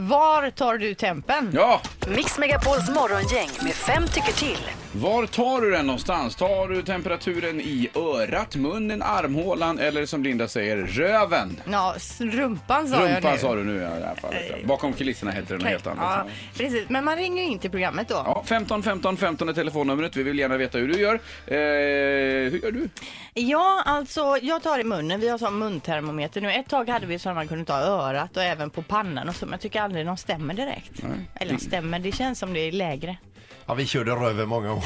Var tar du tempen? Ja, Mix Megapols morgongäng med fem tycker till. var tar du den någonstans? Tar du temperaturen i örat, munnen, armhålan eller som Linda säger, röven? Ja, s- rumpan sa jag nu. Rumpan sa du nu i det här fallet. ja. Bakom kulisserna heter den något helt annat. Ja, precis. Men man ringer ju in till programmet då. Ja, 15 15 15 är telefonnumret. Vi vill gärna veta hur du gör. Eh, hur gör du? Ja, alltså jag tar i munnen. Vi har sån muntermometer nu. Ett tag hade vi så att man kunde ta örat och även på pannan och så. Men jag tycker aldrig de stämmer direkt. Eller Mm. stämmer, det känns som det är lägre. Ja, vi körde röven många år.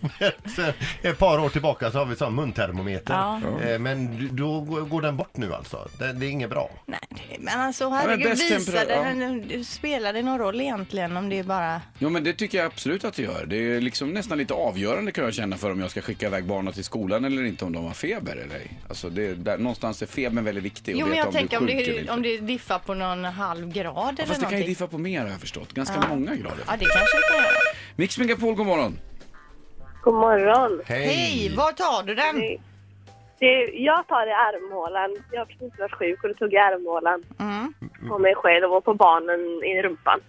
Men sen Ett par år tillbaka så har vi sån muntermometer. Ja. Eh, Men då går den bort nu alltså. Det, det är inget bra. Nej, det- men alltså herregud, bäst visar temperat- ja. den, ja. spelar det någon roll egentligen om det är bara... Jo, men det tycker jag absolut att du gör. Det är liksom nästan lite avgörande kan jag känna för om jag ska skicka iväg barnen till skolan eller inte, om de har feber eller ej. Alltså, det är där, någonstans är febern väldigt viktig. att Jo, men veta jag tänker om du är sjuk eller det, inte. om det diffar på någon halv grad Ja, eller fast det kan ju någonting. diffa på mer har jag förstått. Ganska många grader. Ja, det kanske det kan göra. Mix Megapol, god morgon. God morgon. Hej, var tar du den? Det, jag tar i armhålan. Jag har precis varit sjuk och då tog jag armhålan Mm. på mig själv och på barnen i rumpan.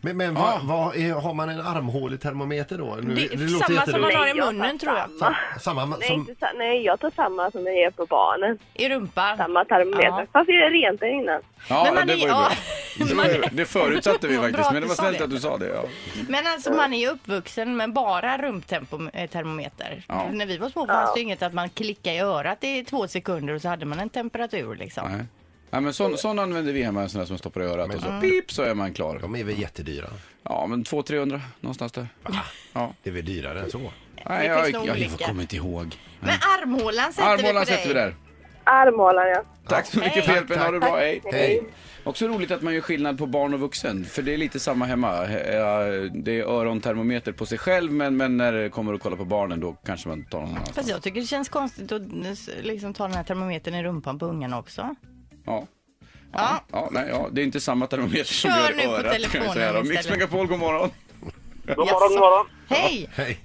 Men, men vad, vad är, har man en armhåletermometer då? Nu, Det, samma som man jättedumt. har i Nej, jag tar munnen tror jag. samma. Samma ma- Nej, som... inte, sa- nej, jag tar samma som jag ger på barnen. I rumpan. Samma termometer. Ja. Fast jag är rent innan. Ja, Men man det är- var ju ja. bra. Det, var ju, det förutsatte vi Bra faktiskt, att men det du var sa snällt det. att du sa det. Ja. Men Mm. alltså man är ju uppvuxen med bara rumtermometer. Ja. När vi var små fanns det ju inget att man klickade i örat i två sekunder och så hade man en temperatur liksom. Nej. Ja, men sån, sån använder vi hemma, en sån där som stoppar i örat och så pip så är man klar. De är väl jättedyra? Ja, men 200-300 någonstans där. Ja. Det är väl dyrare än så? Nej, Det jag, finns nog jag, jag, olika. kommer inte ihåg. Men armhålan sätter vi på Armhålan dig. sätter vi där. Armhålan, ja. Tack så mycket Hej. för hjälpen, ha det bra, hej. Hej. Också roligt att man gör skillnad på barn och vuxen, för det är lite samma hemma. Eh, Det är örontermometer på sig själv, men, men när det kommer att kolla på barnen då kanske man tar någon annan. Fast jag tycker det känns konstigt att eh, s- liksom ta den här termometern i rumpan på ungarna också. Ja. Ja. Ja, nej, ja, det är inte samma termometer som Kör gör nu i på örat kan jag säga. då. telefonen Mix istället. Megapol, god morgon. God Jaså. morgon, god morgon. Hej! Hej.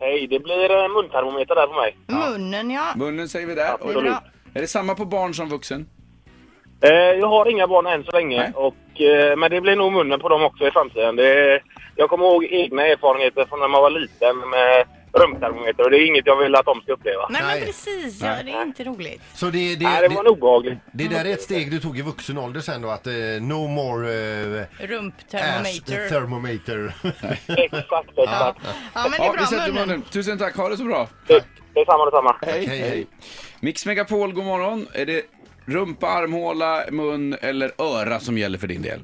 Hej, det blir eh, muntermometer där på mig. Munnen ja. Munnen säger vi där. Och Det är bra. är det samma på barn som vuxen? Eh, jag har inga barn än så länge, Nej. och, eh, men det blir nog munnen på dem också i framtiden. Det, jag kommer ihåg egna erfarenheter från när man var liten med rumtermometer och det är inget jag vill att de ska uppleva. Nej men Nej. precis, ja, det är inte roligt. Så det, det, Nej, det var en det, obehaglig. det där är ett steg du tog i vuxen ålder sen då att eh, no more eh, ass eh, Rumptermometer. thermometer. Exakt, exakt. Ja men det är vi bra, sätter munnen. munnen. Tusen tack, ha det så bra. Det, detsamma, detsamma. Hej, Hej, hej. Mix Megapol, god morgon. Är det rumpa, armhåla, mun eller öra som gäller för din del?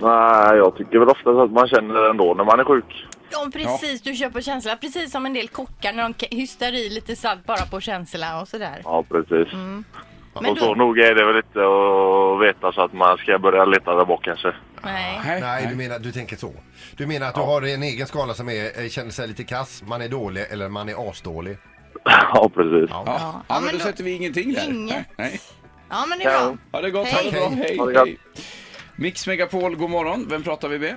Nej, jag tycker väl oftast att man känner det ändå när man är sjuk. Ja precis, du kör på känsla. Precis som en del kockar när de k- hystar i lite salt bara på känsla och sådär. Ja, precis. Mm, Men och så då, nog är det väl inte att veta så att man ska börja leta där bak kanske. nej. Nej, du menar, du tänker så. Du menar att du har en egen skala som är, eh, känner sig lite kass, man är dålig eller man är asdålig. ja, precis. Ja. Ja, ja, men, men då, då- sätter vi ingenting där. Inget. Nej. Ja men det är bra. Ha det gott, ha det Hej. bra. Hej, Ha det hej. Mix Megapol, god morgon. Vem pratar vi med?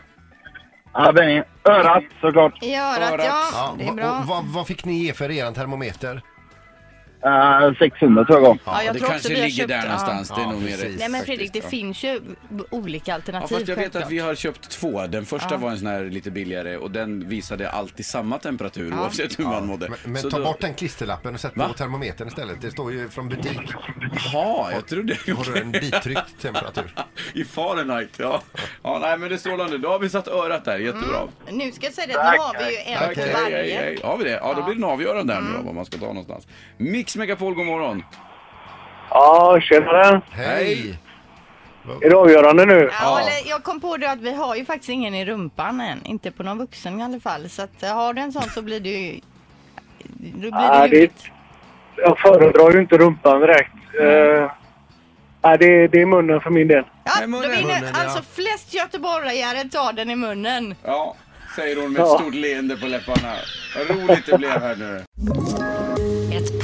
Ja, Benny. Örat såklart. I örat Örat. ja, Ja, det är va- och bra. vad, vad fick ni ge för er termometer? Uh, 600 tror jag gav. Ja, jag det tror också kanske vi har ligger köpt- där ja. någonstans. Det är Ja, nog mer precis. Nej men Fredrik, faktiskt, det ja. finns ju b- olika Ja, alternativ fast jag vet att Typ, självklart. vi har köpt två. Den första Ja. var en sån här lite billigare och den visade alltid samma temperatur oavsett hur man mådde. Men, men Så ta då- bort den klisterlappen och sätt Va? på termometern istället. Det står ju från butik. Jaha, jag trodde... Har du en bitryckt temperatur? I Fahrenheit, ja. ja. Nej, men det är strålande. Då har vi satt örat där, jättebra. Nu ska jag säga det, nu har vi ju en Tack, till hej, hej, Mm. varje. Mm. hej. Har vi det? Ja, då blir det en avgörande där nu då, vad man ska ta någonstans. Mix Megapol, god morgon. Ja, tjenare. Hej! Är det avgörande nu? Ja, eller jag kom på det att vi har ju faktiskt ingen i rumpan än, inte på någon vuxen i alla fall. Så att, eh, har du en sån så blir det ju... Då blir det Ja, det- huvudet. Jag föredrar ju inte rumpan direkt. Mm. Eh, nej, det, det är munnen för min del. Ja, Nej, då munnen. vinner Munnen, ja. alltså flest göteborgare tar den i munnen. Ja, säger hon med ett Ja. stort leende på läpparna. Vad roligt det blev här nu. Ett